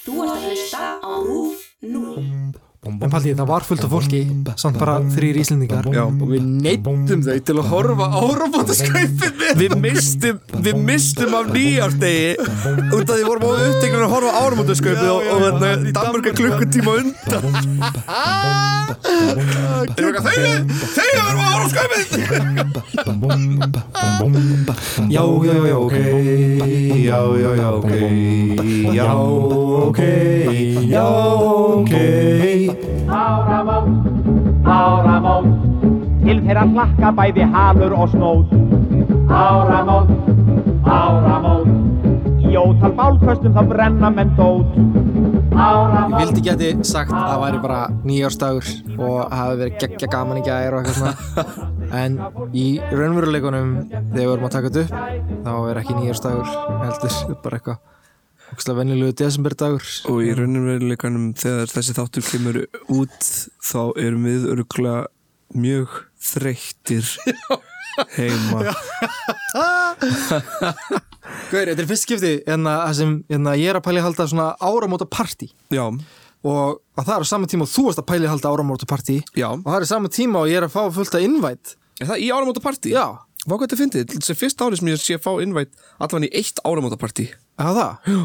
Þú ert að hlusta á RÚF 0. En Paldi, það var fullt af fólki, samt bara þrýr íslendingar. Já, og við neittum þau til að horfa á robótaskaupinu Við mistum, við mistum af nýjárdegi út af því vorum á uppteknir að horfa á robótaskaupinu og, og þannig Danmörka klukkutíma undan Þeir eru eitthvað þau, þau eru að horfa á robótaskaupinu Já, já, já, ok, já, já, já, ok, já, ok, já, ok. Áramót, áramót, til þeirra hlakka bæði halur og snót. Áramót, áramót, í ótal bálköstum þá brenna menn dót. Ég Áramót, vildi geti sagt að það væri bara nýjárstagur og að hafi verið geggja gaman í gær og eitthvað svona En í raunveruleikunum þegar við vorum að taka þetta upp þá er ekki nýjárstagur heldur bara eitthvað Ógstlega venjulegu desemberdagur Og í rauninveruleikanum þegar þessi þáttur kemur út þá erum við örgla mjög þreyttir heima Gauður, þetta er fyrst skipti en að sem hérna, ég er að pæli halda svona áramóta partí Já, og að það er á sama tíma og þú varst að pæli halda áramóta partí já og það er á sama tíma og ég er að fá fullt að innvætt Er það í áramótapartí? Já, Vá hvað þetta fyndið, þetta er fyrsta árið sem ég sé að fá innvætt allan í eitt áramótapartí er það það?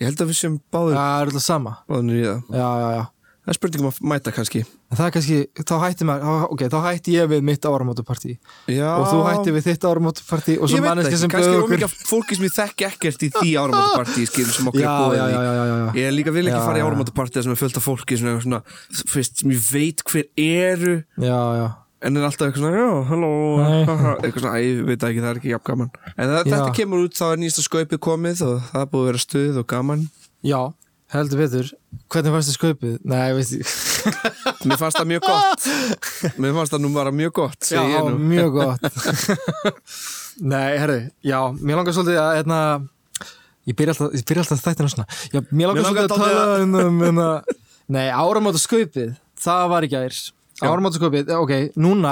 Ég held að við sem báður Það er alltaf sama báðunir í það Já, já, já Það er spurningum að mæta kannski En það er kannski, þá hætti maður, þá- ok, þá hætti ég við mitt áramóta partí Já og þú hætti við þitt áramóta partí og svo Ég veit manneski ekki, sem kannski bauð er ómikið fólki sem ég þekki ekkert í því áramótapartí skilum sem okkur Já, er búið já, já, já, já, já. Ég líka vil ekki Já, fara í já. áramótapartí sem er fullt af fólki sem, er svona, fyrst, sem ég veit hver eru Já, já en er alltaf eitthvað svona, já, halló Nei. haha, eitthvað svona, æ, ég veit það ekki, það er ekki jafn gaman en það, Já. þetta kemur út, þá er nýjasta skaupið komið og það er búið að vera stuð og gaman Já, heldur betur Hvernig fannst þið skaupið? Nei, veist ég mér fannst það mjög gott mér fannst það nú bara mjög gott Já, segi ég nú. mjög gott Nei, herri, já, mér langar svolítið að hérna, ég byrja alltaf, ég byrja alltaf þættina svona já, Mér langar Mér langar svolítið að tala um, um, um að, Nei, áramóta skaupið það var í gær Áramóta skaupið, ok, núna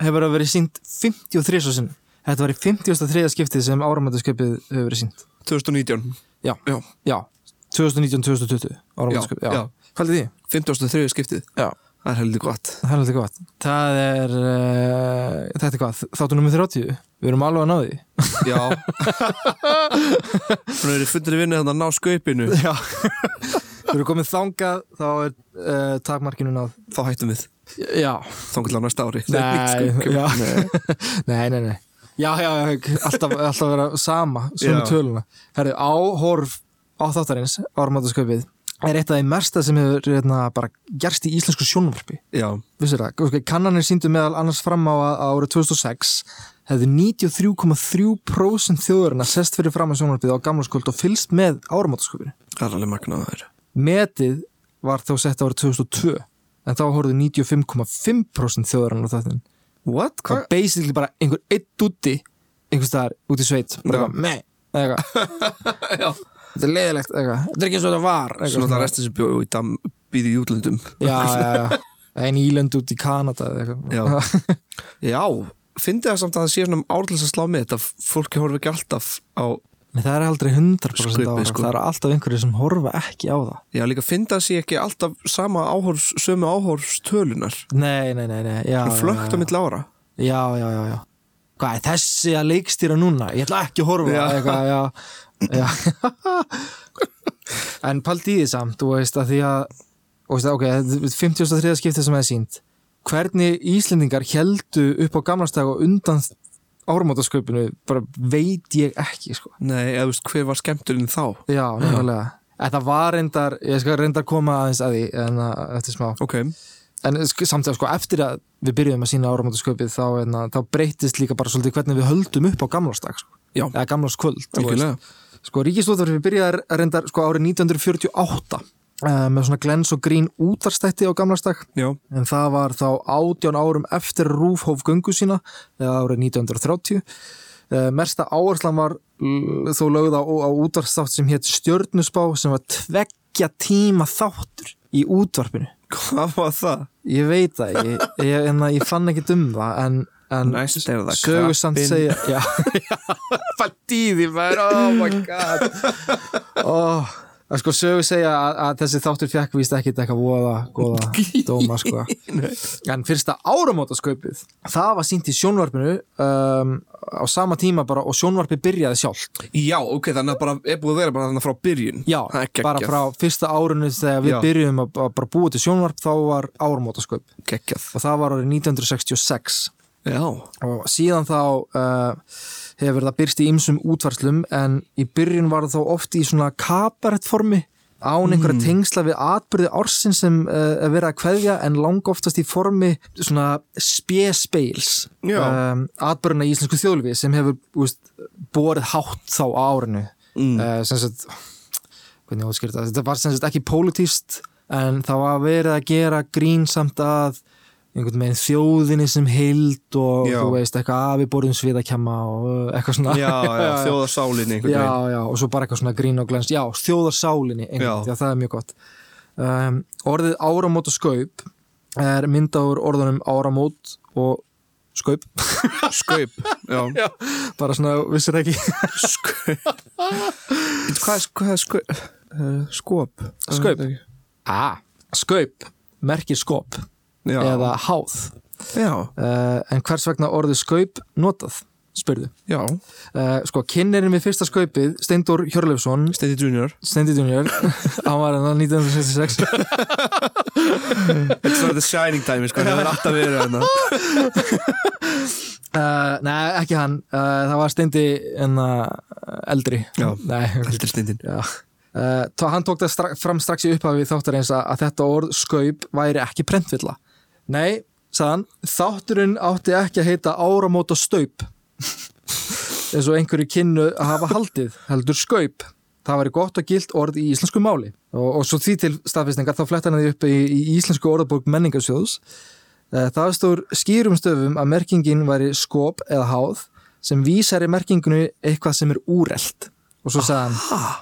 hefur það verið sínt 53 svo sinn Þetta var í 53. skiptið sem áramóta skaupið hefur verið sínt 2019, Já, já, já, 2019-2020 áramóta skaupið, já, já. Hvað er því? 53 skiptið Já það er heldur gott Það er alltaf gott. Það er, uh, þetta er hvað, þáttu nummið 30. Við erum alveg að ná því. já þannig að þið fundir í vinnu þannig að ná skaupinu Já. Við erum komið þangað, þá er uh, takmarkinu náð. þá hættum við, Já. þannig til á næsta ári Nei, sko. já. Nei. nei, nei, nei. Já, já, já, alltaf, alltaf vera sama, sömu Já. töluna. Herðu, áhorf á þáttarins, áramáttasköpið, er eitt af því mersta sem hefur hérna, bara gerst í íslensku sjónvarpi. já, Vissir það, ok, kannanir síndu meðal annars fram á að að árið 2006 hefðu 93,3% þjóðurinn að sest fyrir fram að sjónvarpið á gamlarskvöld og fylst með áramáttasköpinu. það er alveg magnaður Metið var þá sett árið 2002 en þá horfðu 95,5% þjóðurinn á þáttin. what? Það Hva? var basically bara einhver eitt úti einhvers staðar út í sveit bara Já. eitthvað, mei, eitthvað Þetta er leiðilegt, eitthvað, þetta er ekki eins og þetta var eitthvað svona það svona. restur sem bjóðu í dam býði í útlöndum Já, já, já, ein ílönd út í Kanada eða eitthvað. Já. Já, fyndi það samt að það sé svona um árlis að slá með þetta fólki horfi ekki alltaf á Nei, það er aldrei 100% á Skaupið, það, sko. það er alltaf einhverju sem horfa ekki á það. Já, líka fyndi það sé ekki alltaf sama áhorfs, sömu áhorfstölunar Nei, nei, nei, nei, já. Það flögt á já, milli ára já. Já, já, já, já. Hvað er þessi að leikstýra núna? Ég ætla ekki að horfa, Já. eitthvað, já. já. en paldi í því samt, þú veist, að því að, þú veist, að, ok, þetta er 53. skiptið sem það er sínt. Hvernig Íslendingar heldu upp á gamlastag og undan árumótasköpinu, bara veit ég ekki, sko. Nei, eða þú veist, hver var skemmturinn þá? Já, nefnilega. Þetta var reyndar, ég skal reyndar koma aðeins að því, en að, eftir smá. Ok, en sk- samt að sko eftir að við byrjuðum að sína áramótasköpið þá, en að- þá breytist líka bara svolítið hvernig við höldum upp á gamlásdag sko. Já. eða gamláskvöld þú algjörlega veist. sko ríkistóttarfið byrjaði að reyndar sko árið 1948 uh, með svona glens og grín útvarstætti á gamlásdag Já, en það var þá átján árum eftir Rúf hóf göngu sína eða árið 1930 Eh, Mesta áherslan var Mm. l- þó lögð á, á útvarpsþátt sem hétt Stjörnusbá sem var tveggja tíma þáttur í útvarpinu hvað var það? Ég veit það ekki, ég, en að ég fann ekki um það en, en Næst er það sögur samt krabbinn. segja Já, Fadíði, maður, oh my god ó, að sko sögur segja að, að þessi þáttur fjakk víst ekkit eitthvað voða, góða, dóma sko Nei. en fyrsta áramótaskaupið það var sínt í sjónvarpinu um, á sama tíma bara og sjónvarpið byrjaði sjálft Já, ok, þannig að bara er búið að vera bara þannig frá byrjun já, Það er bara geggjað. frá fyrsta árunni þegar við Já. byrjuðum að, að bara búa til sjónvarp þá var áramótaskaup geggjað og það var árið 1966 Já, og síðan þá uh, hefur það byrst í ymsum útvarslum en í byrjun var það þá oft í svona kabarett formi án einhverja tengsla við atbyrði ársin sem uh, er verið að kveðja en langa oftast í formi svona spjespeils Já. um, atbyrðina í íslensku þjóðlfi sem hefur úst, borið hátt þá á árinu mm. uh, sem sagt hvernig ég óskýrta, þetta var sem sagt ekki pólitíst en það var verið að gera grín samt að einhvern veginn þjóðinni sem heild og Já. þú veist eitthvað að við borðum sviðakjama og uh, eitthvað svona já, já, þjóðarsálinni einhvern já, veginn. já, og svo bara eitthvað svona grín og glens já, þjóðarsálinni, einmitt, Já. já. það er mjög gott um, orðið áramót og skaup er mynda úr orðunum áramót og skaup Skaup, já, já. bara svona, vissir ekki Hvað er, hvað er skaup? Uh, skop Skaup. Uh, ah. skaup, merkir skop Já, eða háð já, uh, en hvers vegna orðið skaup notað, spurðu já uh, sko, kynnerinn við fyrsta skaupið Steindor Hjörleifsson Steady Junior Steindi Junior, hann var hann 1966 It's not the shining time, sko, það er alltaf verið hérna Uh, nei, ekki hann. Uh, það var Steindi en uh, eldri. Já. Nei, Eldri stundin já. Uh, tó- hann tók það stra fram strax í upphafi þáttar eins að, að þetta orð skaup væri ekki prentvilla. Nei, sagðan, þátturinn átti ekki að heita áramóta staup eins og einhverju kynnu að hafa haldið, heldur skaup. Það væri gott og gilt orð í íslensku máli og, og svo því til staðfisningar þá fletta hann því upp í, í íslensku orðabók menningarsjóðs Eh, Það stór skýrum stöfum að merkingin væri skop eða háð sem vísar í merkinginu eitthvað sem er úrelt. Og svo sagði hann,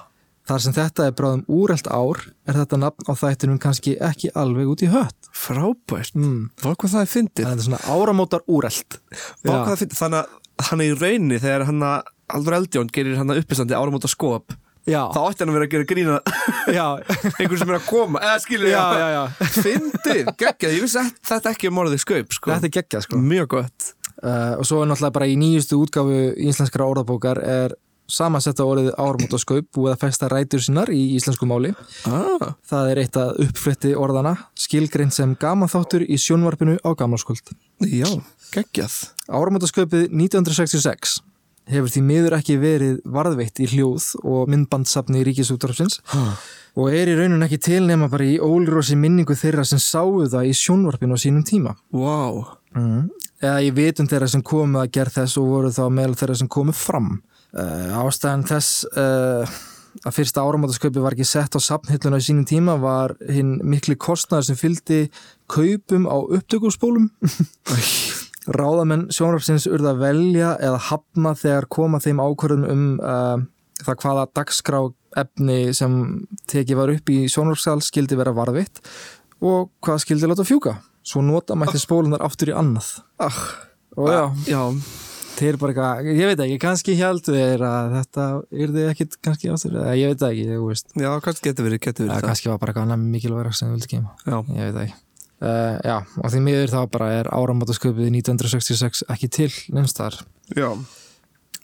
þar sem þetta er bráðum úrelt ár er þetta nafn á þættinum kannski ekki alveg út í hött. Frábært, mm. vá hvað það er fyndið Það er svona áramótar úrelt. Vá Já. hvað það fyndið, þannig að hann er í rauninni þegar hann að Alvar Eldjón gerir hann að uppistandi áramóta skop Já, þá ætti hann að vera að gera grína já, einhver sem er að koma, eða skilur Já, já, já. fyndið, geggjað, ég vissi að þetta ekki um orðið skaup, sko, þetta er geggjað sko. mjög gott Uh, og svo er náttúrulega bara í nýjustu útgáfu íslenskra orðabókar er samansetta orðið áramóta skaup búið að festa rætur sínar í íslensku máli. ah. Það er eitt að uppflytti orðana, skilgreint sem gamanþáttur í sjónvarpinu á gamlaskvöld. já, geggjað Áramótasköpið 1966 hefur því miður ekki verið varðveitt í hljóð og myndbandsafni ríkisúttarfsins og er í raunun ekki tilnema bara í ólrósi minningu þeirra sem sáu það í sjónvarpinu á sínum tíma. wow. Eða í vitund þeirra sem komu að gerð þess og voru þá meðal þeirra sem komu fram. Uh, ástæðan þess uh, að fyrsta áramótasköpi var ekki sett á safnhilluna í sínum tíma var hinn mikli kostnaður sem fylgdi kaupum á upptökuspólum ráðamenn sjónrafsins urða að velja eða hafna þegar koma þeim ákvörðum um uh, það hvaða dagskrá efni sem tekið var upp í sjónrafsal skildi vera varðvitt og hvað skildi láta fjúka svo nota mætti spólunar aftur í annað ah. og já, já, þeir bara eitthvað, ég veit ekki, kannski hjaldu þeir að þetta yrði ekkit kannski aftur, eða ég veit það ekki, þú veist já, kannski getur verið, getur eða verið það kannski var bara eitthvað annað mikilværa sem þú vildi geima já, ég veit það ekki uh, já, og því miður þá bara er áramátasköpið 1966 ekki til nefnst þar já,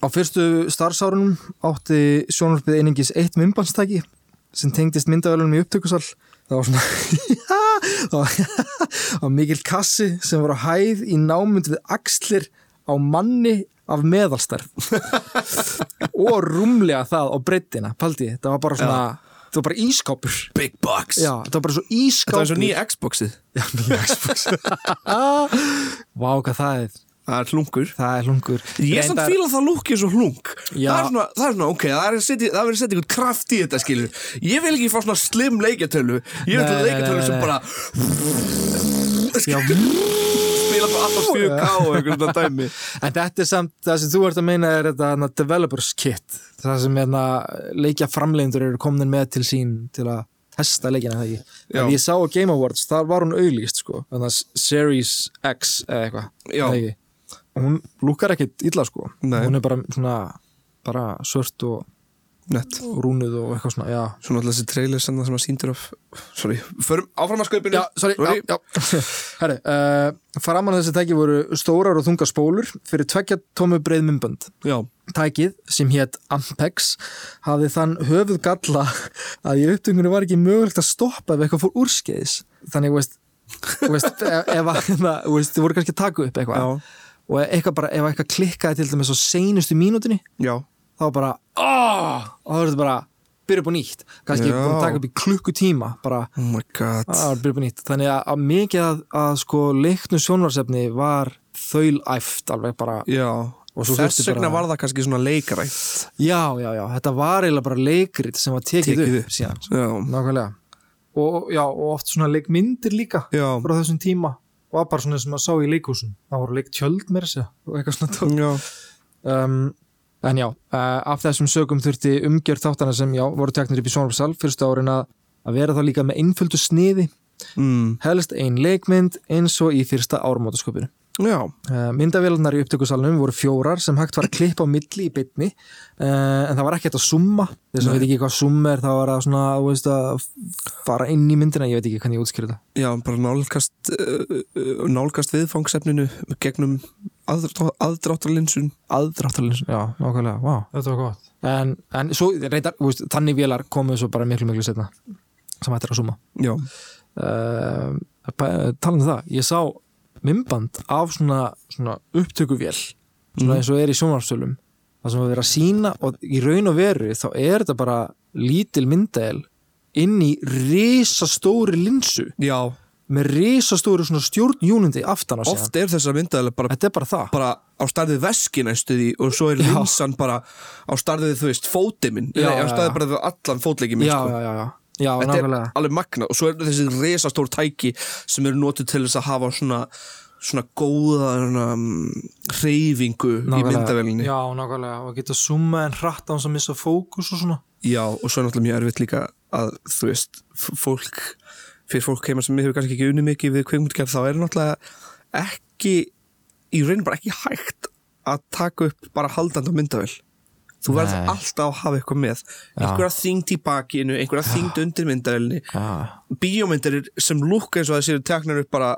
Á fyrstu starfsárunum átti sjónvarpið einingis eitt myndbandstæki sem tengdist myndavælunum í upptökusal. Það var svona, það var, það var mikill kassi sem var á hæð í námund við axlir á manni af meðalstarf og rúmlega það á breyttina, paldi, þetta var bara svona, þetta var bara ískápur. big box Já, þetta var bara svo þetta er ískápur. svo nýja Xboxið Ah. Vá, hvað það er, það er hlungur það er hlungur. Ég samt Reyndar- fíla það lúkið svo hlung Já. það er, svona, það er svona, ok, það er að setja- það er verið að setja einhvern kraft í þetta, skilur Ég vil ekki fá svona slim leikjartölu Ég vil Nei, það nei, leikjartölu nei, sem nei. bara Já, spila bara alltaf 4K og einhvern svona dæmi En þetta er samt, það sem þú ert að meina er þetta hana, developers kit það sem hana, leikja framlegendur eru komin með til sín til að testa leikina það ekki. Já. En ég sá á Game Awards, þar var hún auðlýst sko, þannig að Series X eða eitthvað. Já. er það ekki? Og Hún lúkar ekkit illa sko. Nei. Hún er bara svona bara svört og nett og rúnuð og eitthvað svona, já Svona alltaf þessi trailer sem það sem að síndur af Sorry, förum áfram að sköpinu Já, sorry, já, já. Herri, uh, framan að þessi tæki voru stórar og þungar spólur fyrir tvekja tómu breið mymbönd. já. Tækið, sem hétt Ampex, hafði þann höfuð galla að í upptökunni var ekki mögulegt að stoppa ef eitthvað fór úrskeiðis. Þannig, veist, veist, e- ef að, hérna, veist, þið voru kannski að taka upp eitthvað Já. og eitthvað bara, ef eitthvað klikkaði til dæmis á seinustu mínútinni, já, þá bara oh! og þá er þetta bara byrja upp á nýtt kannski Já. búin að taka upp í klukkutíma bara oh my god það var byrja upp á nýtt þannig að, að mikið að, að sko leiknu sjónvarsefni var þaulæft alveg bara Já, Og svo þess þurfti vegna bara- var það kannski svona leikarætt já já já þetta var eiginlega bara leikrit sem var tekið, Tekið upp. upp síðan sko. Já, nákvæmlega og, já, og oft svona leikmyndir líka já, frá þessum tíma var bara svona sem maður sá í leikhúsum það voru leikt tjöld mér sér og eitthvað svona tók já. um, en já, uh, af þessum sögum þurfti umgjörð þáttana sem já, voru teknir upp í sjónvarpsal fyrstu árin að, að vera þá líka með einföldu sniði, Mm. helst ein leikmynd eins og í fyrsta ármótaskopinu já uh, myndavélarnar í upptökusalunum voru fjórar sem hægt var að klippa á milli í bytni uh, en það var ekki hægt að summa þess að veit ekki hvað summa er, það var að svona þú veist, að fara inn í myndina, ég veit ekki hvernig ég útskýra þetta Já, bara nálgast uh, uh, nálgast viðfangsefninu gegnum aðdrá- aðdráttarlinsun aðdráttalins, já, nákvæmlega, vá þetta var gott en, en svo, reyndar, þú veist, þannig vélar komu svo bara miklu, miklu setna sem hægt er að summa Já, uh, talandi um það, ég sá mymband af svona, svona upptökuvél Mhm. svona eins og er í sjónvarpsölum það sem að vera að sína og í raun og veru þá er þetta bara lítil myndael inn í risastóri linsu já, með risastóri svona stjórnjúnindi aftan á síðan, oft er þessar myndaðilega bara, þetta er bara það bara á starfið veski næstu því og svo er Já. linsan bara á starfið þú veist fótið minn, Já, Nei, á já, starfið já. bara við allan fótleikið minn já, sko. já, já, já, já, Þetta er nákvæmlega alveg magna og svo er þessi resastór tæki sem eru notuð til þess að hafa svona svona góða svona, mm, hreyfingu í Nákvæmlega. myndavelinni já, nákvæmlega, og geta summa en hratt á hans að missa fókus og svona Já, og svo er náttúrulega mjög erfitt líka að þú veist, f- fólk fyrir fólk heima sem hefur kannski ekki unni mikið við kveimundgerð þá er náttúrulega ekki í raun bara ekki hægt að taka upp bara haldandi á myndavel þú verð Nei. alltaf að hafa eitthvað með einhverja þyngd í bakinu, einhverja þyngd undir myndavelni já, bíómyndir sem lúka eins og þessi eru teknar upp bara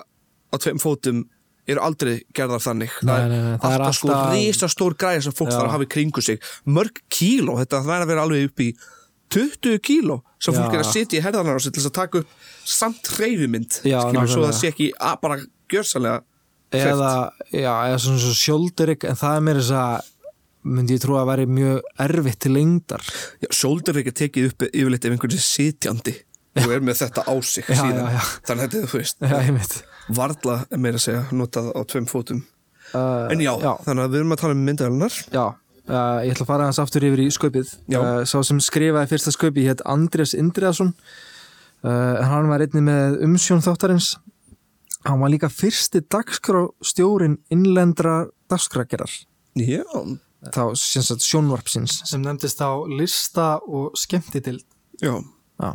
á tveim fótum eru aldrei gerðar þannig Nei, nei, nei, það er alltaf sko alltaf- risa stór græði sem fólk Já. þarf að hafa í kringu sig mörg kíló, þetta það er að vera alveg upp í 20 kíló sem fólk Já. er að sitja í herðanar á sig til þess að taka upp samt reyfimynd Já, skilur, svo nákvæmlega. það sé ekki að, bara gjörsalega eða, já, eða svona svo sjóldirik en það er mér þess að myndi ég trú að veri mjög erfitt til lengdar sjóldur ekki tekið upp yfirleitt ef einhvern veginn sitjandi og er með þetta á sig Já, síðan já, já. þannig að þetta er þú veist Já, ég veit varla meira að segja notað á tveim fótum uh, en já, Já, þannig að við erum að tala um myndavelnar já. Uh, ég ætla að fara hans aftur yfir í sköpið Já. uh, Sá sem skrifaði fyrsta sköpi hétt Andrés Indriðason uh, Hann var einnig með umsjón þáttarins Hann var líka fyrsti dagskrástjórin innlendra dagskragerar já, þá sem sagt, sjónvarpsins sem nefndist þá lista og skemmtitild Já, Já,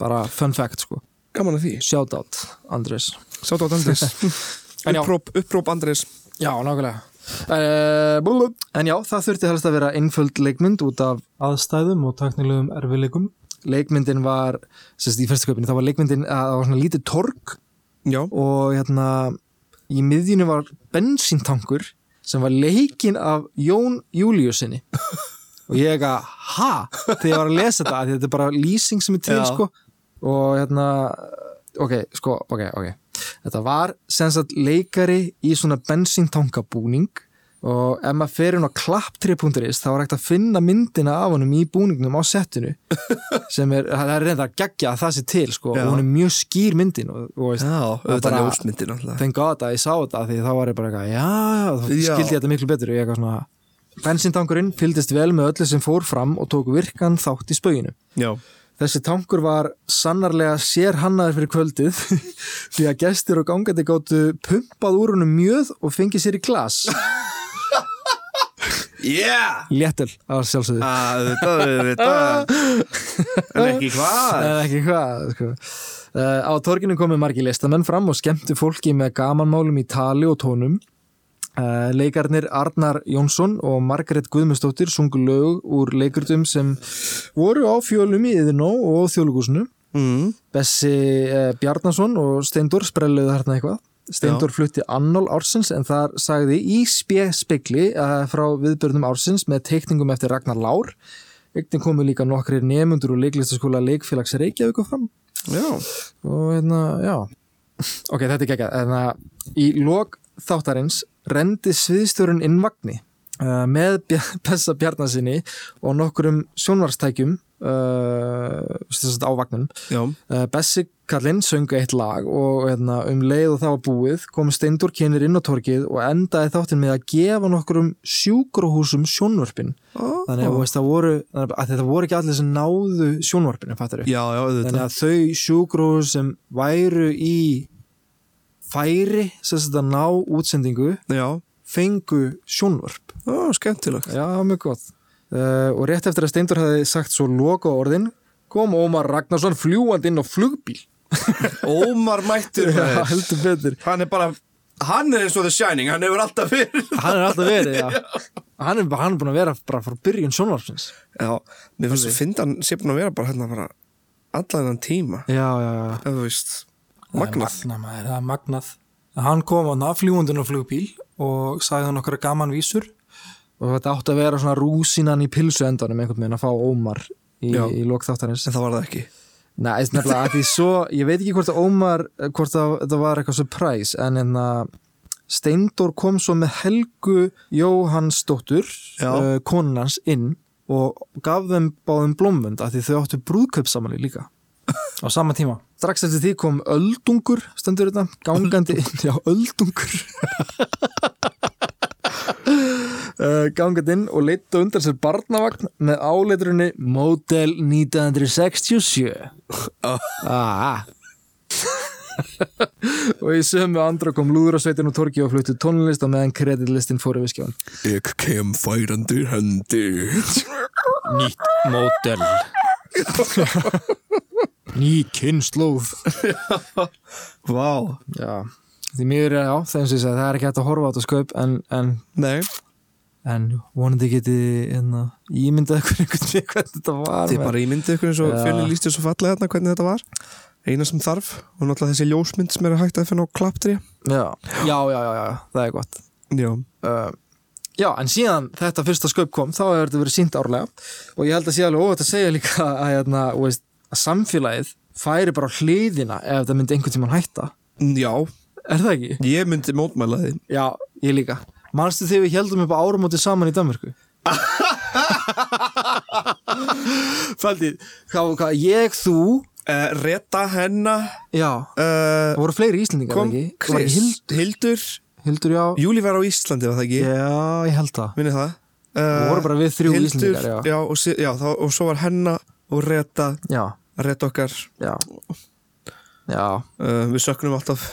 bara fun fact sko gaman að því Shout out, Andrés Sátt átt Andrés En já. Uppróp, uppróp Andrés Já, nákvæmlega uh, En já, það þurfti helst að vera einföld leikmynd út af aðstæðum og taknilegum erfileikum Leikmyndin var, sérst í fyrstu köpinni, það var leikmyndin að það var svona lítið torg Já, og hérna í miðjunni var bensíntankur sem var leikinn af Jón Júliusinni og ég ekki að, ha? Þegar ég var að lesa þetta, af því þetta er bara lýsing sem er til, Já. sko og hérna, ok, sko, ok, ok þetta var sem sagt leikari í svona bensíntankabúning og ef maður fer inn á klapp3.is þá er hægt að finna myndina af honum í búningnum á settinu sem er, það er reynda að gegja að það sé til sko, Já. og hún er mjög skýr myndin og, og veist, já auðvitað bara- ljósmyndin alltaf þenn gata að ég sá þetta því þá var ég bara eitthvað, já, þá Já. skildi ég þetta miklu betur og ég eitthvað svona bensintangurinn fylgdist vel með öllu sem fór fram og tók virkan þátt í spauginu Já, Þessi tankur var sannarlega sérhannaður fyrir kvöldið því að gestir og gangandi gáttu pumpað úr húnum mjöð og fengið sér í glas. yeah Léttel, það var sjálfsögðu. Auðvitað, auðvitað En ekki hvað En ekki hvað, sko. Uh, á torginu komu margi listamenn fram og skemmtu fólki með gamanmálum í tali og tónum. Uh, leikarnir Arnar Jónsson og Margaret Guðmustóttir sungu lög úr leikritum sem voru á fjölum í Iðinó og þjóðlugúsinu mm. Bessi uh, Bjarnason og Steindor sprelluðu þarna eitthvað Steindor flutti annál ársins en þar sagði í spegli uh, frá viðbörnum ársins með teikningum eftir Ragnar Lár Ektin komu líka nokkrir nefnundur úr leiklistaskóla leikfélags Reykjavík og fram Já, og hérna, já ok, þetta er ekki ekki í lok þáttarins rendi sviðstjórun inn vagni uh, með Bja- Bessa Bjarnasinni og nokkrum sjónvarstækjum uh, sem sagt á vagnum já, uh, Bessi Kallinn söngu eitt lag og hérna, um leið og það var búið kom Steindur kynir inn á torkið og endaði þáttinn með að gefa nokkrum sjúkrahúsum sjónvarpin Ó. þannig að, þú veist, það voru, að þetta voru ekki allir sem náðu sjónvarpinu fattarðu? já, já þannig auðvitað. að þau sjúkrós sem væru í færi sem þetta ná útsendingu Já, fengu sjónvarp já, skemmtilegt já, mjög gott uh, og rétt eftir að Steindur hefði sagt svo loka orðin kom Ómar Ragnarsson fljúandi inn á flugbíl Ómar mættur Já, maður. heldur betur Hann er bara, hann er eins og The Shining Hann hefur alltaf fyrir hann er alltaf verið já. hann er, hann er búin að vera bara frá byrjun sjónvarpsins Já, mér finnst að finna hann sé búin að vera bara hérna bara allan hann tíma já, já, já ef þú veist, Magnað, magnað maður, það er magnað. Hann kom á nafljúundin og flugbíl og sagði hann okkar gaman vísur. og þetta átti að vera svona rúsinan í pilsu endanum einhvern veginn að fá Ómar í, Já. í lok þáttarins en það var það ekki Nei, nefnilega, að því svo, ég veit ekki hvort að Ómar, eh, hvort að þetta var eitthvað surprise, en en að Steindor kom svo með Helgu Jóhannsdóttur, Já. uh, konans, inn og gaf þeim báðum blómund að því þau áttu brúðkaupsamali líka. Á sama tíma. Strax eftir því kom öldungur, stendur þetta, gangandi inn, já, öldungur. uh, gangandi inn og leitt undan sér barnavagn með áleitrunni Model 1967. Ah. og í sömu andra kom lúðrasveitin og torki og fluttu tónlist og meðan kreditlistin fór yfir skjáin Ég kem færandi hendi Nýtt mótel Ný kynnslóð Vá Já, því mjög er já, þeim sem ég segi það er ekki hægt að horfa á þetta sköp en, en, Nei, en vonandi geti hérna, ímyndað ykkur einhvern veginn hvernig þetta var þið bara ímyndið ykkur eins og Já. fjölinn lístir svo fallega þarna hvernig þetta var Eina sem þarf og náttúrulega þessi ljósmynd sem er hægt að finna á klapptri já. Já, já, já, já, það er gott Já, uh, Já, en síðan þetta fyrsta sköp kom þá hefur þetta verið sínt árlega og ég held að sé alveg óvægt að segja líka að, hérna, þú veist, að samfélagið færi bara á hliðina ef það myndi einhvern tímann hætta Mm, já, Er það ekki? ég myndi mótmæla því Já, ég líka Manstu þegar við heldum upp á áramóti saman í Danmörku? Faldið hvað, hvað, Ég, þú uh, Reta hennar Já, uh, það voru fleiri Íslendingar Kom var ekki? Það var Chris, ekki Hild, Hildur Hildur, já Júli var á Íslandi var það ekki Já, ég held það Minni það Eh, Við vorum bara við þrjú Íslendingar, já. já, og, sí- já þá, og svo var hennar og Reta Já, Reta okkar já Já, uh, Við söknum alltaf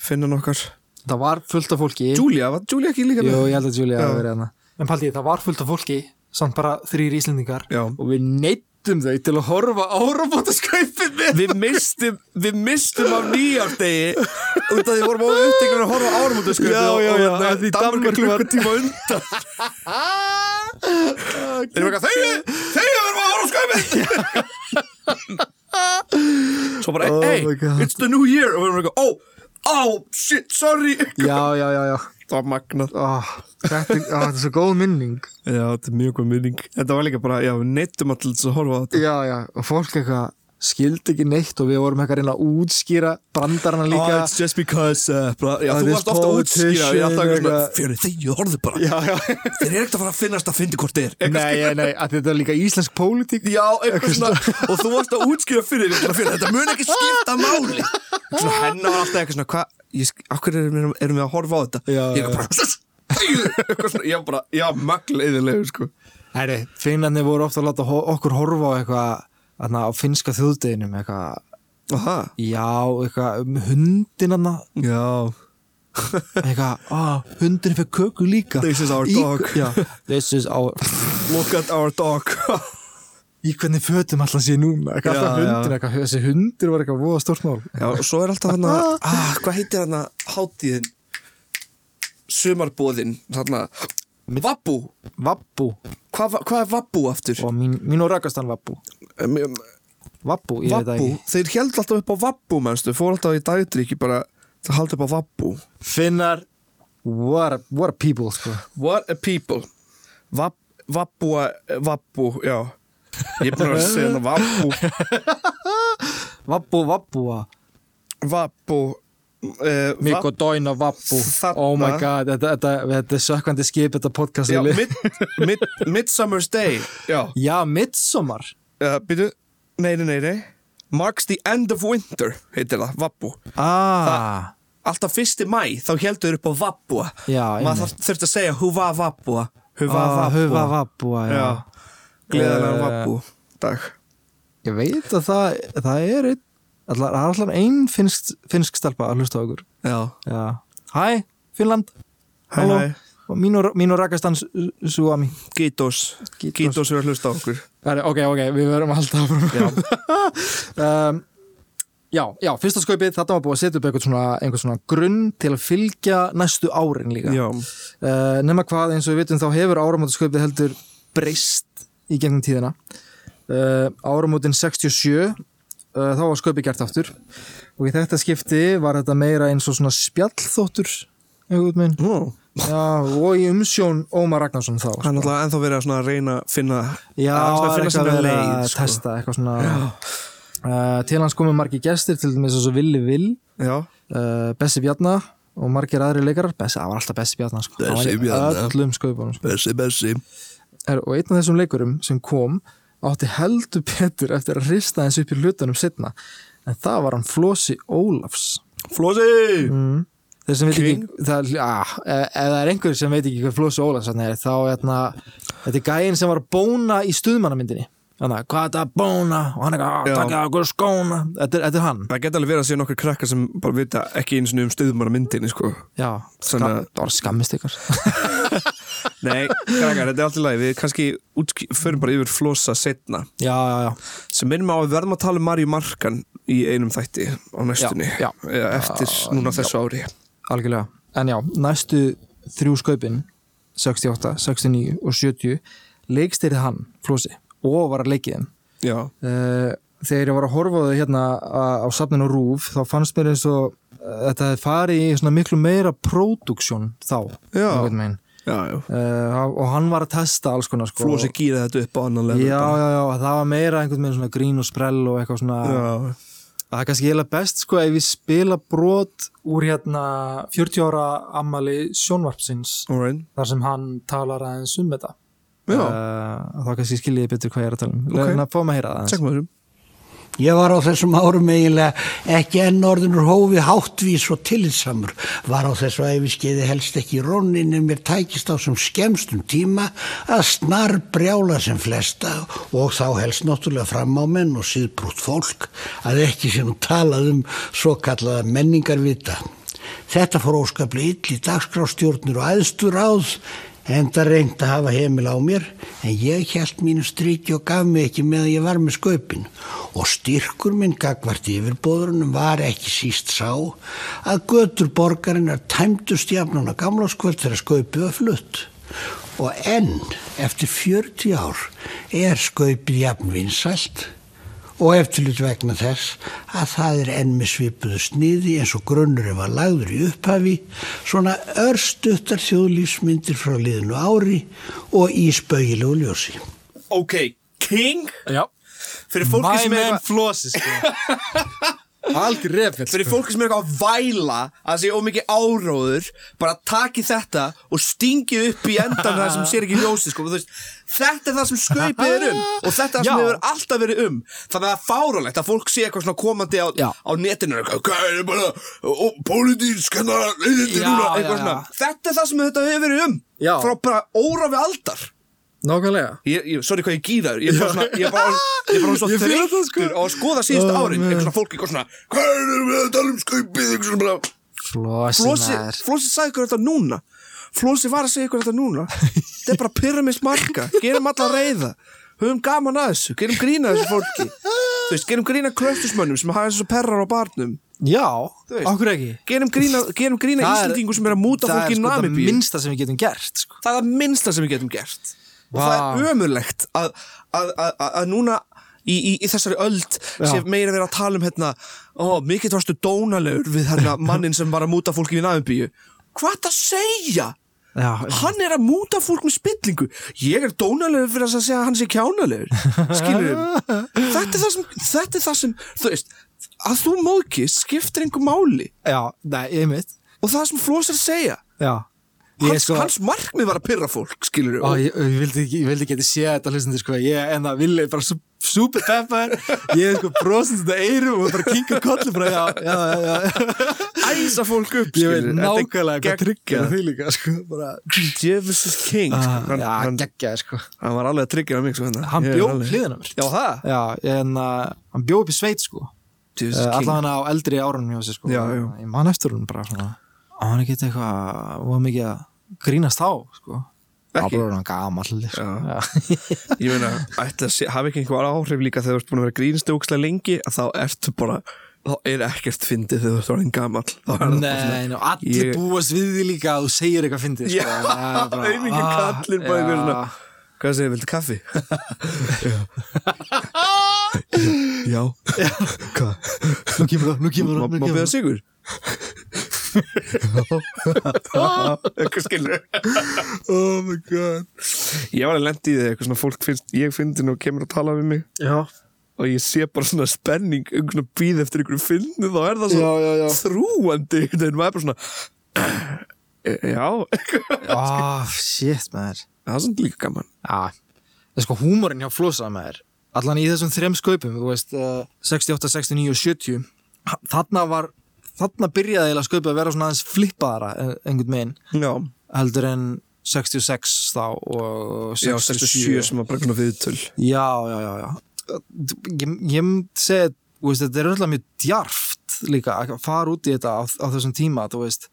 finnan okkar það var fullt af fólki Júlia, var Júlia ekki líka Jú, ég held að Júlia Já. hafi verið hana En Paldi, það var fullt af fólki, samt bara þrýr Íslendingar. Já Og við neittum þau til að horfa áramóti skaupið með Við mistum, við mistum af nýjáftegi út af því vorum á uppteknir að horfa ármútasköpu Já, já, já, og, hérna, af og því Danmark Danmörk var- klukkutíma undan Ah, Þeir eru eitthvað, þeir, þeir verðum að horfa sköpu Svo bara, Oh hey, my God. it's the new year og við erum eitthvað, oh, oh, shit, sorry Já, já, já, já Það var magnað Ó, þetta, er- ó, þetta er svo góð minning Já, þetta er mjög góð minning Þetta var líka bara, já, við neittum alltaf að horfa á þetta Já, já, og fólk eitthvað skildi ekki neitt og við vorum eitthvað að reyna að útskýra brandarana líka Oh, just because uh, bla, Já, Oh, þú this varst ofta að útskýra Ég er alltaf eitthvað svona, politician, Fjörðu þegju, horfðu bara Já, já Þeir eru ekkert að fara að finnast að fyndi hvort þeir Nei, nei, nei, að þetta er líka íslensk pólitík Já, eitthvað svona Og þú varst að útskýra fyrir þér fyrir, Þetta mun ekki skipta máli Eitthvað Svona hennar var alltaf eitthvað svona Hvað, ég sk- af hverju erum, við- erum við að horfa á þetta Já, Ég er bara "Sus, þegiðu." Eitthvað svona, ég var bara, já, magleiðilegu sko Æri, finnarnir voru ofta að láta ho- okkur horfa á eitthvað þarna, á finnska þjóðdeginum eitthvað, Aha, já, eitthvað um hundinanna já eitthvað, á, hundin fyrir köku líka This is our Í- dog. já, This is our Look at our dog Í hvernig fötum alltaf sé núna eitthvað, Já, alltaf hundin, já. eitthvað, þessi hundir var eitthvað voða stórt mál Já, og svo er alltaf hann að ah, Hvað heitir hann að hátíðin sumarbóðin þarna, Vabbu, Vabbu hvað va- hvað er Vabbu aftur? og mín, mín og rakastan Vabbu Um, um, Vabbu, ég veit það Vabbu, ekki þeir held alltaf upp á Vabbu mennstu, fór alltaf í dagdrykki bara það haldi upp á Vabbu Finnar What a, what a people sko. What a people Vab, Vabbu, eh, Vabbu, já ég er búin að segja hérna Vabbu Vabbu, Vabbu Vabbu eh, Mikko Vab- Dóin og Vabbu Þarna. Oh my god, þetta, þetta, þetta er sökkvandi skip þetta podcast já, mid, mid, Midsummer's Day já, já, midsommar uh, býtu, nei, nei, nei, nei Marks the end of winter heitir það, Vabbu ah, alltaf fyrsti mæ þá heldur upp á Vabbu Já, einmitt. maður þarf- þurfti að segja húva Vabbu húva ah, Vabbu Hufa Vabbu já. já, gleðilega Eh, Vabbu dag Ég veit að það, það er einn allar, það er allar ein finnsk, finnsk stelpa að hlusta á okkur Já, já. Hæ, Finnland hæ Halló. hæ, Og mín og- mín og rakastan Suami Gítos Gítos. Gítos er að hlusta á okkur Ok, ok, við verum alltaf Já, um, já, já, fyrsta skaupið þetta var búið að setja upp einhvern svona, einhvern svona grunn til að fylgja næstu árin líka já, uh, nema hvað eins og við vitum þá hefur áramótaskaupið heldur breyst í gegnum tíðina uh, áramótin 67 uh, þá var skaupið gert aftur og í þetta skipti var þetta meira eins og svona spjallþóttur einhvern veginn Nú, Já, og í umsjón Ómar Ragnarsson þá Hm. sko. hann er alltaf ennþá verið að svona reyna að finna Já, hann er alltaf að það er finna eitthvað sinna að vera leið að sko. testa eitthvað svona uh, Til hans komu margir gestir til dæmis eins og Villi Vill Já, uh, Bessi Bjarna og margir aðri leikarar Bessi, það var alltaf Bessi Bjarna sko. Hann var Bessi í Bjarna. Öllum skaupunum sko. bessi, bessi Er- Og einn af þessum leikurum sem kom átti heldur betur eftir að hrista eins upp í hlutunum setna En það var hann Flósi Ólafs Flósi Mm. Þeir sem veit King? ekki það, að, ef það er einhver sem veit ekki hvað Flósi Ólafs þarna er þá hérna, þetta er gæinn sem var að bóna í stuðmannamyndinni Þannig, hvað er þetta að bóna og hann er Já. eitthvað, takk að okkur skóna þetta er, þetta er hann, Það geta alveg verið að sé nokkur krakkar sem bara vita ekki einu sinni um stöðumara myndinni sko já skam, Þannig að- það var skammist ykkar Nei, krakkar, þetta er allt í lagi Við kannski útský, förum bara yfir flosa setna já, já, já, sem minnum á að við verðum að tala um Marju Markan í einum þætti á næstunni Já, já. Eða eftir núna þessu ári algjörlega en já, næstu þrjú skaupin 68, 69 og 70 leikstyrði hann, Flósi og var að leikið þeim Já, Eh, þegar ég var að horfa á þau hérna á, á safninu Rúf þá fannst mér eins og eh, þetta hefði farið í svona miklu meira production þá Já. einhvern veginn. já, já Eh, og hann var að testa alls konar sko. Flósi gýra þetta upp á annan já, level bara. já, já, það var meira einhvern veginn svona grín og sprell og eitthvað svona já, það er kannski heila best sko ef við spila brot úr hérna 40 ára ammali sjónvarpsins all right þar sem hann talar aðeins um þetta Já, uh, þá kannski skilja ég betur hvað ég er að tala um okay. Ok. en að fáum að heyra það aðeins. tjekkum þessum Ég var á þessum árum eiginlega ekki enn orðinur hófi háttvís og tillitsamur. Var á þessu æfiskeiði helst ekki í rónin en mér tækist á sem skemstum tíma að snar brjála sem flesta og þá helst náttúrulega fram á menn og síðbrútt fólk að ekki sem talað um svo kallaða menningarvita. Þetta fór óskaplega ill í dagskrástjórnir og aðstu ráð enda reynd að hafa heimil á mér en ég held mínu stríki og gaf mig ekki með að ég var með skaupin og styrkur minn gagvart yfirbóðurinn var ekki síst sá að götur borgarinnar tæmdust jafnuna gamláskvöld þegar skaupið var flutt og enn eftir 40 ár er skaupið jafn vinsælt og eftirlut vegna þess að það er enn með svipuðu sniði eins og grunnurinn var lagður í upphafi, svona örstuttar þjóðlífsmyndir frá liðinu ári og í spauðilegu ljósi. Ok, King já, Fyrir fólki sem er eitthvað Flósi sko algjör refill Fyrir fólki sem er eitthvað að væla að sé ómikið áróður bara taki þetta og stingið upp í endan það sem sér ekki ljósið sko. Þú veist, þetta er það sem skaupið er um og þetta er það sem Já. hefur alltaf verið um þannig að það er fáralegt að fólk sé eitthvað svona komandi á, Já. á netinu eitthvað, hvað er bara og pólitísk hérna, leiðindi Já, núna," já, eitthvað já. svona. þetta er það sem þetta hefur verið um Já. frá bara órafi aldar nákvæmlega Ég, ég, sorry hvað ég gýra þér, ég er bara svona, ég er bara, ég er bara svo Ég fíla það, þreyttur sko. á að skoða síðustu Oh, árin, man. eitthvað svona fólk, eitthvað svona, hvað erum við að tala um skaupið, eitthvað svona bara, Flósi, Flósi maður. Flósi sagði ykkur þetta núna, Flósi var að segja ykkur þetta núna, þetta er bara pyrramis marka, gerum alla reyða, höfum gaman að þessu, gerum grína þessu fólki, þú veist, gerum grína kröftusmönnum sem hafa þessu perrar á barnum, Já, Þú veist. okkur ekki Gerum grína, gerum grína Það er- Íslendingu sem er að múta Það er fólki í sko það Namibíu minnsta sem við getum gert sko. það er það minnsta sem við getum gert og Vá. það er ömurlegt að, að, að, að, að núna í, í, í þessari öld sé meira verið að tala um hérna, ó, mikið varstu dónalegur við hérna mannin sem var að múta fólki í Namibíu hvað það segja? Já, Hann er að múta fólk með spillingu Ég er dónalegur fyrir þess að segja að hann sé kjánalegur Skilur Þetta er það sem, þetta er það sem Þú veist, að þú móðkist skiptir einhver máli já, nei, ég mitt Og það sem Flós er að segja Já Ég sko- Hans, hans markmið var að pyrra fólk Skilur Ó, ég, ég, vildi, ekki- ég vildi geta séð þetta hlustandi sko, ég en það vilja bara sú- super peppar, ég er sko brosandi þetta eyrum og bara kinga kollu bara já, já, já, já, æsa fólk upp ég skilur. veit Þetta er nákvæmlega hvað tryggja geggjað. því líka sko, bara Jefferson King Ah, hann, já, hann, geggja sko hann var alveg að tryggja mig sko, hérna. hann Ég er bjó alveg- hliðina mér Já, það já, en uh, hann bjó upp í sveit sko uh, Jefferson King allan á eldri árunum hjá sér sko Já, já. ég man eftir hún bara svona og hann er ekkert eitthvað, og mikið að grínast þá sko Ekki? Ábróður hann gamall sko. Já. Já. Ég meina, ætla að sé- hafi ekki einhver áhrif líka þegar þú ert búin að vera grínst ókslega lengi að þá ertu bara, þá er ekkert fyndið þegar þú ert orðin gamall Þá er það bara Nei, svona- ná, allir Ég- búast við því líka að þú segir eitthvað fyndið sko, Já, en það er bara, auðvitað ah, kallir bara einhver já. svona Hvað segir, viltu kaffi? Já Hvað? Nú kemur það, nú kemur Má það, nú má kemur byrja það sigur? Eitthvað skilur Oh my god Ég var að lendi í því eitthvað svona fólk finnst Ég finnst og kemur að tala við mig Já, Og ég sé bara svona spenning Einhvern svona býð eftir einhverju finnu Þá er það svo Já, já, já. þrúandi einhvern veginn, maður er bara svona "Eh, Já Það ah, shit maður er svona líka gaman Já, það er sko húmorinn hjá Flosa maður Allan í þessum þrem skaupum, þú veist uh, 68, 69 og 70 ha- Þarna var, þarna byrjaði eiginlega skaupið að vera svona aðeins flippaðara eh, einhvern megin, Já, heldur en 66 þá og já 67 67 sem var bara svona viðtöl Já, já, já, já. Ég, ég myndi segja, þú veist, þetta er öll mjög djarft líka að fara út í þetta á, á þessum tíma, þú veist.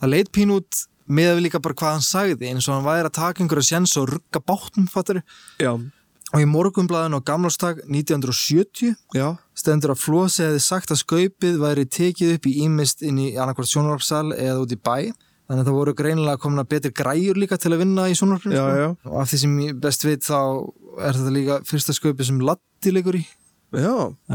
Það leit pín út með við líka bara hvað hann sagði, eins og hann væri að taka einhverja sjens og rugga bátnum, fattur. Já, Og í morgunblæðinu á gamlástak 1970 já stendur að Flósi hefði sagt að skaupið væri tekið upp í ímist inn í annarkvort sjónvarpsal eða út í bæ þannig að það voru greinilega komin að betri græjur líka til að vinna í sjónvarpinu sko. Já, já. og af því sem ég best veit þá er þetta líka fyrsta skaupið sem Latti leikur í Já, uh,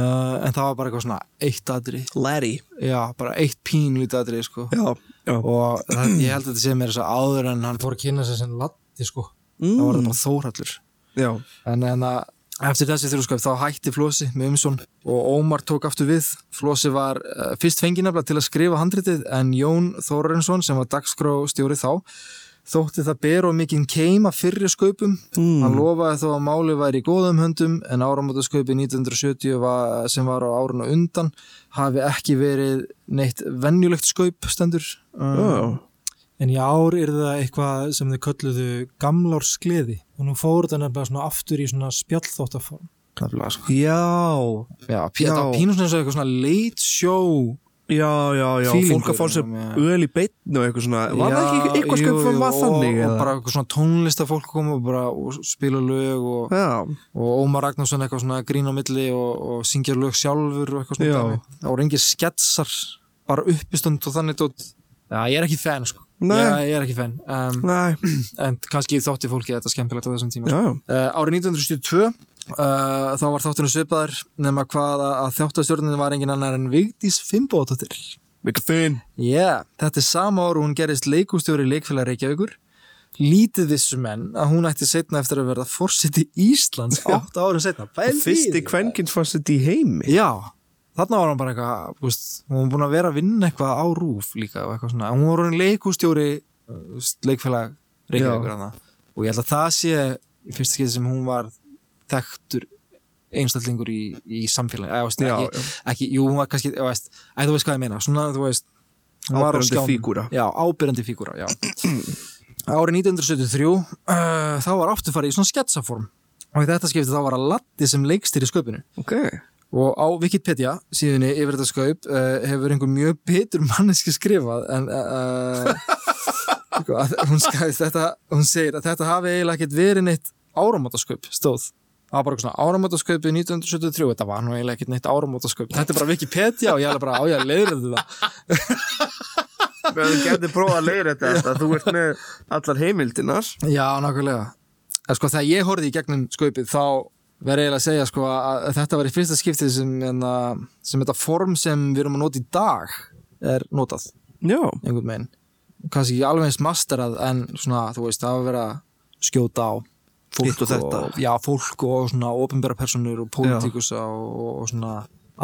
en það var bara eitthvað svona eitt aðri Larry já, bara eitt pínlítið aðri sko. Já, já og það, ég held að þetta sé mér þess að áður en hann fór að kynna sig sem Latti sko. mm. það var þetta bara Þórhallur Já, En, en að, eftir þessi þrjúskap þá hætti Flósi með umsón og Ómar tók aftur við. Flósi var uh, fyrst fenginafla til að skrifa handritið en Jón Þórarinsson sem var dagskrá þá þótti það ber og mikinn keima fyrri skaupum. Hann lofaði þó að máli væri í góðum höndum en áramóta skaupi 1970 var, sem var á árun og undan hafi ekki verið neitt venjulegt skaup stendur. Um, já En í ár er það eitthvað sem þið kölluðu gamlársgleði og nú fór þetta nefnilega svona aftur í svona spjallþóttaform. Já, sko. Já, pí- þetta var pínusnins og eitthvað svona late show já, já, já Feelingur fólk að fá sér um, já. öl í beitn og eitthvað svona var það ekki eitthvað jú, sköpum var jú, þannig og, og eða? bara eitthvað svona tónlistafólk kom og bara og spila lög og, já, og Ómar Ragnarsson eitthvað svona grín á milli og, og syngja lög sjálfur og eitthvað svona Já. dæmi. það voru engir sketsar bara uppistönd og þannig tótt Já, ég er ekki fan sko Nei. ég, ég er ekki fan um, næ, En kannski þótti fólki þetta skemmtilegt á þessum tíma já, já Uh, árið 1972 uh, þá var þáttunum svipaður nema hvað að, að þáttastjórnin var engin annar en Vigdís Fimboðdóttir. Vika finn Já, þetta er sama ára og hún gerist leikustjóri leikfélag Reykjavíkur. Lítið vissu menn að hún ætti setna eftir að verða forseti Íslands 8 árum setna. fyrsti kvenkinsfarsett í heimi Já, þarna var hún bara eitthvað, þú veist, hún var búin að vera að vinna eitthvað á rúf líka og eitthvað svona. Hún var hún leikustjóri leikfélag Reykjavíkur hana. Og ég held að það sé í fyrsta skeið sem hún var þekktur einstaklingur í, í samfélagi. Eða, þú veist, Já, ekki, ekki, jú, hún var kannski, eða, veist, eða, þú veist hvað ég meina, svona, þú veist, hún var á Áberandi skjánum. fígúra. Já, ábyrjandi fígúra, já. Árið 1973, uh, þá var aftur farið í svona sketsaform og í þetta skipti þá var að Latti sem leikstýri sköpunu ok, og á Wikipedia síðunni yfir þetta skaup uh, hefur einhver mjög bitur manneski skrifað en uh, sko, að- hún, skæði, þetta, hún segir að þetta hafi eiginlega ekkert verið neitt áramótaskaup stóð það var bara eitthvað svona áramótasköpið 1973, þetta var nú eiginlega ekkert neitt áramótasköp þetta er bara Wikipedia og ég er bara á ég að leiðra þetta Þú getur prófað að leiða þetta allt, að þú ert með allar heimildinar já, nákvæmlega en sko þegar ég horfði í gegnum sköpið þá verði eiginlega að segja sko að þetta var í fyrsta skiptið sem, en, sem þetta form sem við erum að nota í dag er notað Já, einhvern veginn kannski ekki alveg eins masterað en svona, þú veist, það var verið að skjóta á Hitt og þetta. já, fólk og svona ofinbæra personur og pólitíkusa og, og svona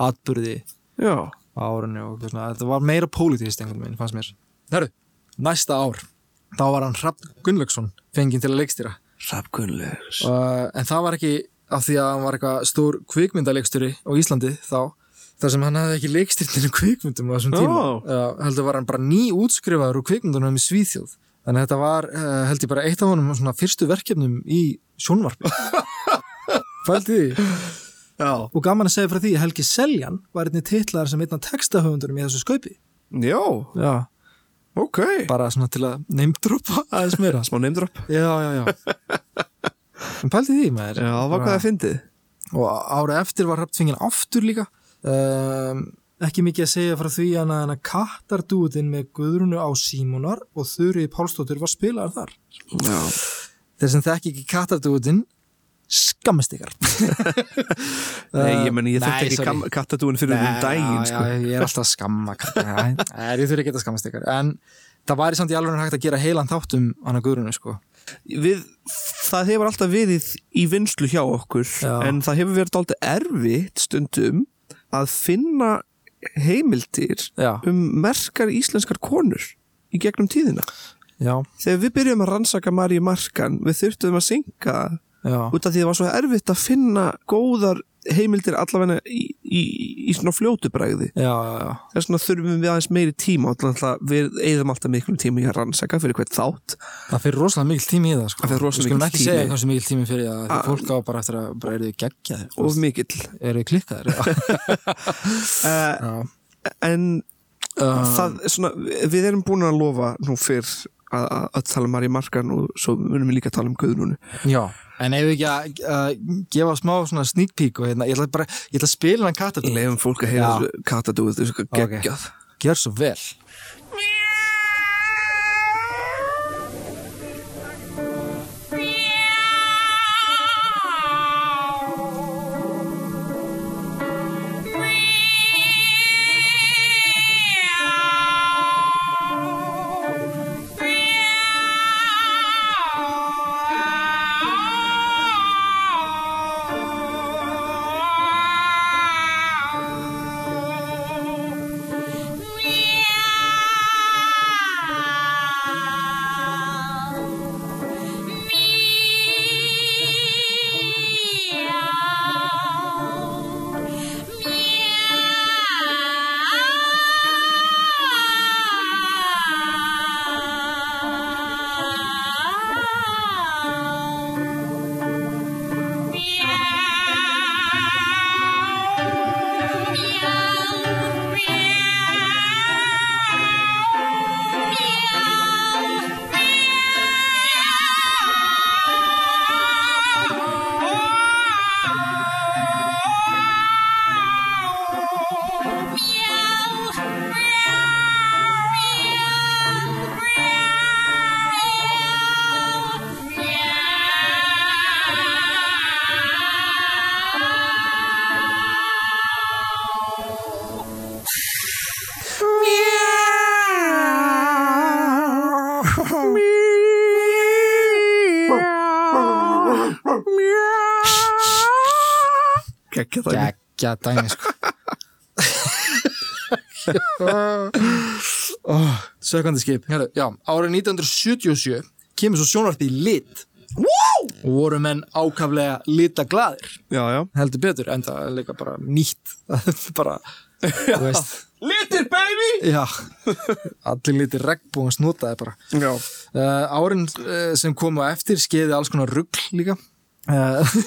atburði já á árunni og eitthvað svona, þetta var meira pólitíst einhvern veginn, fannst mér Herru, næsta ár, þá var hann Hrafn Gunnlaugsson fenginn til að leikstýra Rappkunlegs uh, en það var ekki af því að hann var eitthvað stór kvikmyndaleiksturi á Íslandi þá þar sem hann hafði ekki leikstyrninu kvikmyndum á þessum tíma Ó. Já, heldur var hann bara ný útskrifaður úr kvikmyndunum í Svíþjóð þannig að þetta var uh, held ég bara eitt af honum svona fyrstu verkefnum í sjónvarpi fældi því Já, og gaman að segja frá því að Helgi Seljan var einnig titlar sem einna textahöfundunum í þessu skaupi já, já, ok bara svona til að neymdropa aðeins meira Smá neymdrapp já, já, já en pældi því maður Já, það var hvað það fyndið og ára eftir var hrapptvingin aftur líka um, ekki mikið að segja frá því að hann að kattardúðin með Guðrunu á Símonar og Þurri Pálsdóttir var spilaðar þar Já, þeir sem þekki ekki kattardúðin skammast ykkar nei, ég meni, ég Nei, þekki sorry. ekki kam- kattadúin fyrir um daginn, já, sko já, ég er alltaf að skamma katta Nei, nei, ég þurfi ekki að skammast ykkar en það væri samt í alveg hægt að gera heilan þátt um hana guðrunu sko við, það hefur alltaf verið í vinslu hjá okkur en það hefur verið alltaf erfitt stundum að finna heimildir Já. um merkar íslenskar konur í gegnum tíðina já, þegar við byrjum að rannsaka Maríu Markan við þurftum að synga já, út af því það var svo erfitt að finna góðar heimildir allavega í, í, í svona fljótu bræði já, já, já. þess vegna þurfum við aðeins meiri tíma og alltaf við eigðum alltaf miklum tíma í að rannsaka fyrir hvert þátt það fyrir rosalega mikil tími í það sko Það fer rosalega Við skulum mikill ekki tími. Ah. segja hversu mikil tími fyrir það því fólk á bara eftir að bara eru þið geggjaðir og mikill eru þið klikkaðir já. Eh. uh, en það, svona, við erum búin að lofa nú fyrr að, að, að tala um Marí Markan og svo munum við líka að tala um Guðrúnu Já, en ef við ekki að að gefa smá svona sneak peek og hérna, ég ætla bara, ég ætla að spila hann kattardúð leifum fólk að heyra Já. þessu katadúið þessu Ok. geggjað Gjör svo vel geggjað það Gekkja dæmi sko oh, Sökandi skip Hérna, Já, árið 1977 kemur svo sjónvarpið í lit wow! og voru menn ákaflega litaglaðir já, já. heldur betur, en það er líka bara nýtt bara, þú veist Litir baby! Já, allir litir regnbúin snútaði bara Já. Uh, árin uh, sem komu á eftir skeiði alls konar rugg líka uh,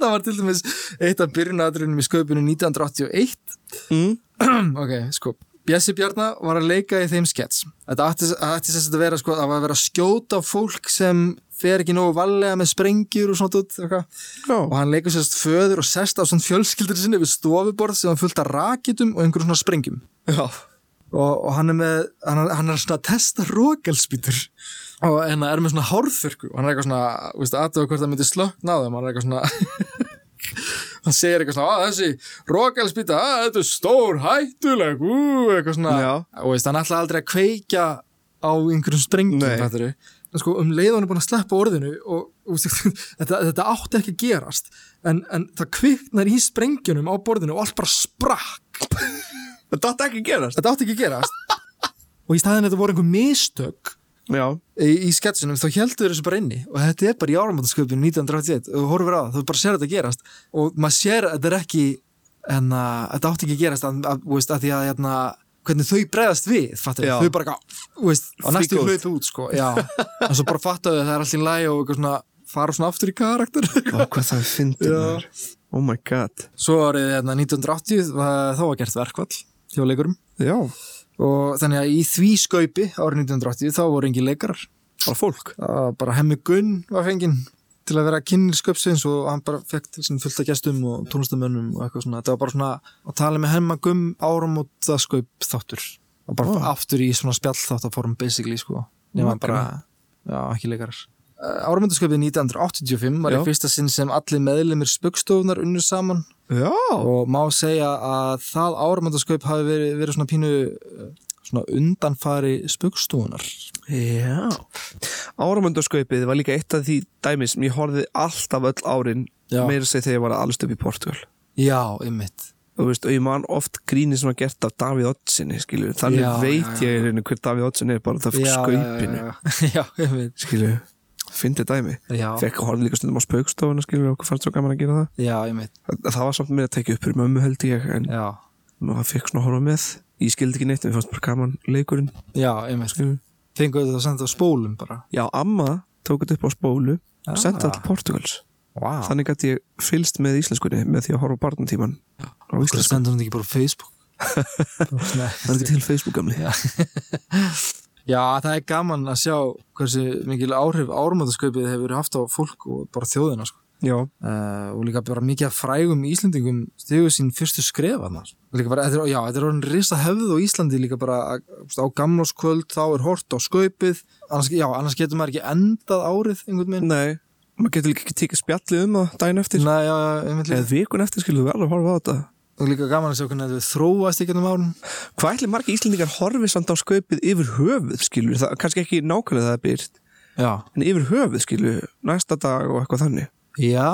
það var til dæmis eitt af byrjunadrunum í sköpunum 1981 mm. ok, sko Bjessi Bjarna var að leika í þeim skets þetta ætti ætti sem sagt að vera sko, það var að vera að skjóta á fólk sem fer ekki nógu valega með sprengjur og svona út Já. og hann leikur sérst föður og sest á svona fjölskyldur sinni við stofuborð sem hann fullt af rakitum og einhverjum svona sprengjum Já. og, og hann er með hann, er- hann er svona að testa rókelspýtur og hann er með svona hárþurku og hann er eitthvað svona, veist, aðtöðu hvort það myndi slökna á þeim, hann er eitthvað svona hann segir eitthvað svona, að þessi rókelspýta, að þetta er stór hættuleg, ú, eitthvað svona Já. og veist, hann ætla aldrei að kveikja á einhverjum sprengjum, Nei. fattarðu. En sko, um leið og hann er búin að sleppa orðinu og, og þetta, þetta átti ekki að gerast en, en það kviknar í sprengjunum á borðinu og allt bara sprakk Þetta átti ekki að gerast. þetta átti ekki að gerast og í staðin þetta voru einhver mistök Já. í, í sketsunum þá heldur þessu bara inni og þetta er bara í áramótasköpinu 1981 og þú horfir á það, þú bara sér þetta gerast og maður sér að þetta er ekki en að þetta átti ekki að gerast að, að, þú veist, að því að hérna hvernig þau bregðast við, fattu Já. þau bara eitthvað, þú veist, á næstu Freak out. hlut út sko, já, en svo bara fattu þau að það er allt í læg og eitthvað svona, fara svona aftur í karakter Ó, hvað það er fyndið maður. Oh my god. svo árið hérna 1980 var- þá var gert verkvall hjá leikurum Já. og þannig að í því skaupi árið 1980 þá voru engin leikarar Bara fólk. Það var bara hemmi Gunn var fenginn til að vera kynni sköpsins og hann bara fekk til sín fullt af gestum og tónlistamönnum og eitthvað svona, þetta var bara svona að tala með hemma Gunn árum og það skaup þáttur og bara aftur í svona spjall þáttaform basically sko, nema bara já, ekki leikarar Árumundasköpið 1985 var í Eh, Já. fyrsta sinn sem allir meðlumir spöggstofunar unnu saman Já. og má segja að það árumundasköp hafi verið, verið svona pínu eh, svona undanfari spöggstofunar Já. Áramöndarskaupið var líka eitt af því dæmi sem ég horfið alltaf öll árin Já. meira að segja þegar ég var að alast upp í Portugal. Já, ymmit og, veist, og ég man oft gríni sem var gert af Davíð Oddsinni skilur. þannig Já, veit já, já, ég já. hver Davíð Oddsinni er bara það fyrir skaupinu já, já, já, einmitt. skilur, fyndi dæmi Já. fekk að horfa líka stundum á spaukstofuna skilur, okkur fannst svo gaman að gera það já, einmitt. það, það var samt mér að tekja upp fyrir mömmu held ég en já, maður fekk svona að horfa með ég skildi ekki neitt, en mér fannst bara gaman leikurinn já, einmitt skilur. fenguðu þetta að senda á spólum bara já, amma tók þetta upp á spólu og sendi það til Portugals wow. þannig að ég fylst með íslenskunni með því að horfa á barnatíman á það íslenskunni, sendur hann ekki bara á Facebook Nei. það er ekki til Facebook gamli já, já, það er gaman að sjá hversu mikil áhrif árumöndaskaupið hefur haft á fólk og bara þjóðina sko. já. uh, og líka bara mikið af frægum Íslendingum stegur sín fyrstu skref annars. líka bara, þetta er, já, þetta er orðin risa hefð á Íslandi líka bara að, þú veist, á gamláskvöld þá er hort á skaupið annars, já, annars getur maður ekki endað árið einhvern veginn Nei, maður getur líka ekki tekið spjallið um það daginn eftir Nei, já, einmitt líka eða vikun eftir skilur við alveg að horfa á þetta og líka gaman að sjá hvernig þetta þróast í gennum árun Hvað ætli margir íslendingar horfið samt á skaupið yfir höfuð skilur það, kannski ekki nákvæmlega það er byrt já, en yfir höfuð skilur, næsta dag og eitthvað þannig já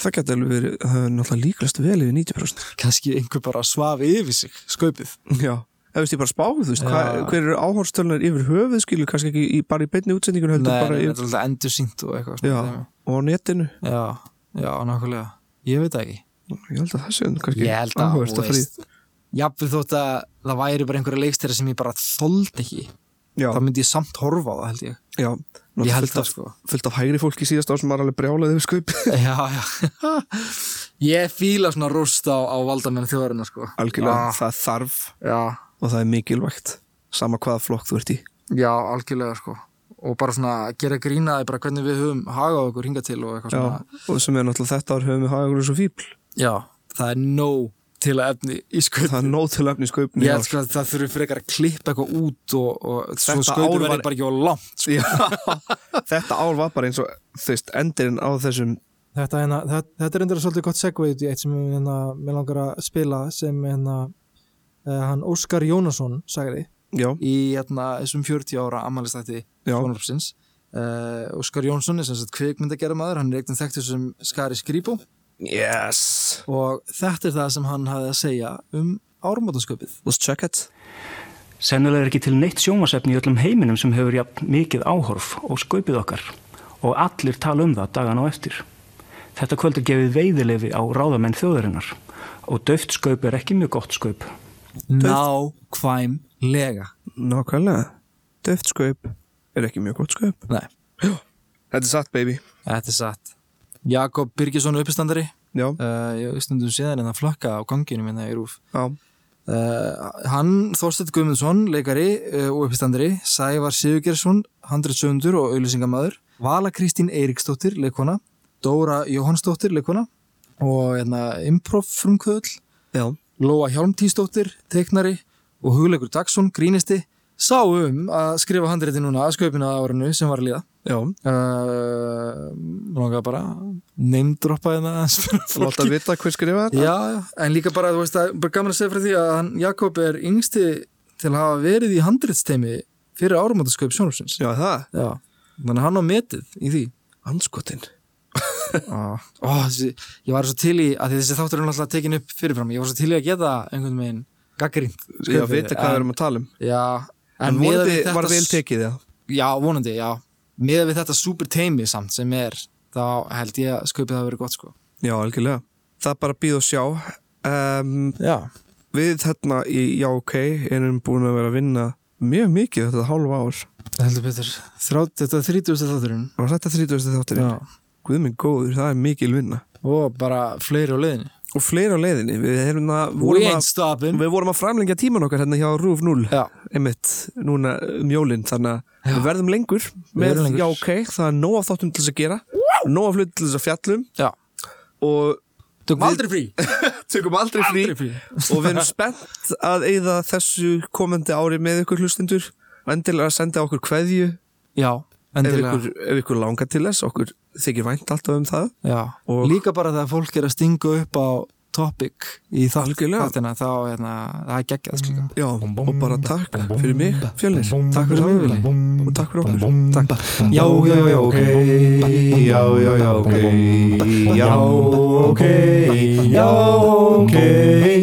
það getur alveg verið, það er náttúrulega líklast vel yfir 90% kannski einhver bara svaf yfir sig skaupið Já, það veist ég bara spáð, þú veist, hvað, Já. hver eru áhorfstölunar yfir höfuð skilur, kannski ekki í, bara í beinni útsendingun heldur Nei, bara nei, þetta er yfir, alltaf endursýnt og eitthvað já, svona dæmi. og á netinu já, já, nákvæmlega ég veit það ekki ég held að það sé um kannski Ég held að, áhugavert þú frí- veist jafnveg þótt að það væri bara einhverja leikstæri sem ég bara þold ekki Já, þá myndi ég samt horfa á það held ég já, Ég held fullt það, af- sko. fullt af hægri fólki síðast á sem var alveg brjálaði yfir skaupið já, já ég fíla svona rúst á, á valdamenn þjóðarinnar sko Algjörlega, það þarf já, og það er mikilvægt sama hvaða flokk þú ert í Já, algjörlega sko og bara svona gera grínaði bara hvernig við höfum hagað okkur hinga til og eitthvað Já, svona og sem er náttúrulega þetta ár höfum við hafa ykkur svo fíbl Já, það er nóg til að efni í það skautin er nóg til efni í Ég skaupinu í held ár. sko að það þurfi frekar að klippa eitthvað út og, og svo Þetta ár skautin var- verði bara ekki á langt sko. þetta ár var bara eins og þú veist, endurinn á þessum Þetta, hérna, þetta, þetta er endur svolítið gott segvei út í eitt sem hérna, mér langar að spila sem hérna, eh, hann Óskar Jónasson sagði já, í hérna, þessum 40 ára ammælistætti Já. Sjónarpsins uh, Óskar Jónsson er sem sagt kvikmyndagerðum aður hann er eignum þekktur sem Skari Skrýbó yes, og þetta er það sem hann hafði að segja um ármótasköpið let's check it Sennilega er ekki til neitt sjónvasefni í öllum heiminum sem hefur jafn mikið áhorf og skaupið okkar og allir tala um það dagan á eftir. Þetta kvöld er gefið veiðilefi á ráðamenn þjóðarinnar og döft skaup er ekki mjög gott skaup. Nákvæmlega nákvæmlega, döft skaup er ekki mjög gott skaup Nei þetta er satt baby, Þetta er satt. Jakob Birgisson uppistandari, já, uh, ég stundum séðan en að flakka á ganginu minna í rúf. já, Uh, hann, Þorstedt eh, Guðmundsson, leikari uh, og uppistandari, Sævar Sigurgersson, handritsöndur og auðlýsingamæður, Vala Kristín Eiríksdóttir leikona, Dóra Jóhannsdóttir leikona og hérna, improv frumkvöðl, já, Lóa Hjálmtísdóttir, teiknari og hugleikur Dagsson, grínisti, sá um að skrifa handrétti núna að sköpina árinu sem var að líða. já, Uh, Nónga bara neymdroppa hérna aðeins fyrir láta fólki. vita hver skrifa þetta Já, já, en líka bara, þú veist, að, bara gaman að segja fyrir því að hann, Jakob er yngsti til að hafa verið í handréttsteimi fyrir árumátasköp sjónarsins. já, það, Já, þannig að hann á metið í því. anskotin Ó, þessi, ég var svo til í, að því þessi þáttur er náttúrulega tekin upp fyrirfram, ég var svo til í að geta einhvern veginn gaggrind. já, vita hvað við erum að tala um Já, en, en miðað vonandi við þetta var vel tekið það Já, vonandi, já. Miðað við þetta super teimi samt sem er, þá held ég að sköpið það verið gott, sko. já, algjörlega, það er bara býð og sjá um, Já. við hérna í Já OK erum búin að vera að vinna mjög mikið þetta hálfa ár Heldur betur. Þrátt, þetta er 30. þátturinn. og þetta 30. þátturinn, guð minn góður, það er mikil vinna Og bara fleiri á leiðinni. og fleira á leiðinni, við erum að We vorum ain't að, stopping. við vorum að framlengja tíman okkar hérna hjá Rúf 0 Já, einmitt núna um jólinn þannig að við verðum lengur með verðum lengur. já ok, það er nóg af þáttum til þess að gera nóg af hlut til þess að fjallum já. og Tökum aldrei frí. tökum aldrei frí Aldrei frí. og við erum spennt að eyða þessu komandi ári með ykkur hlustendur og endilega að senda okkur kveðju Já, ef endilega. ykkur, ef ykkur langar til þess okkur þykir vænt alltaf um það Já, Og- líka bara þegar fólk er að stinga upp á topic í Algjörlega. þáttina þá hérna, það er geggjað sko. já, og bara takk fyrir mig fjölnir, takk fyrir mig Vili. og takk fyrir okkur Takk. Já, já, já, ok Já, já, já, ok Já, ok Já, ok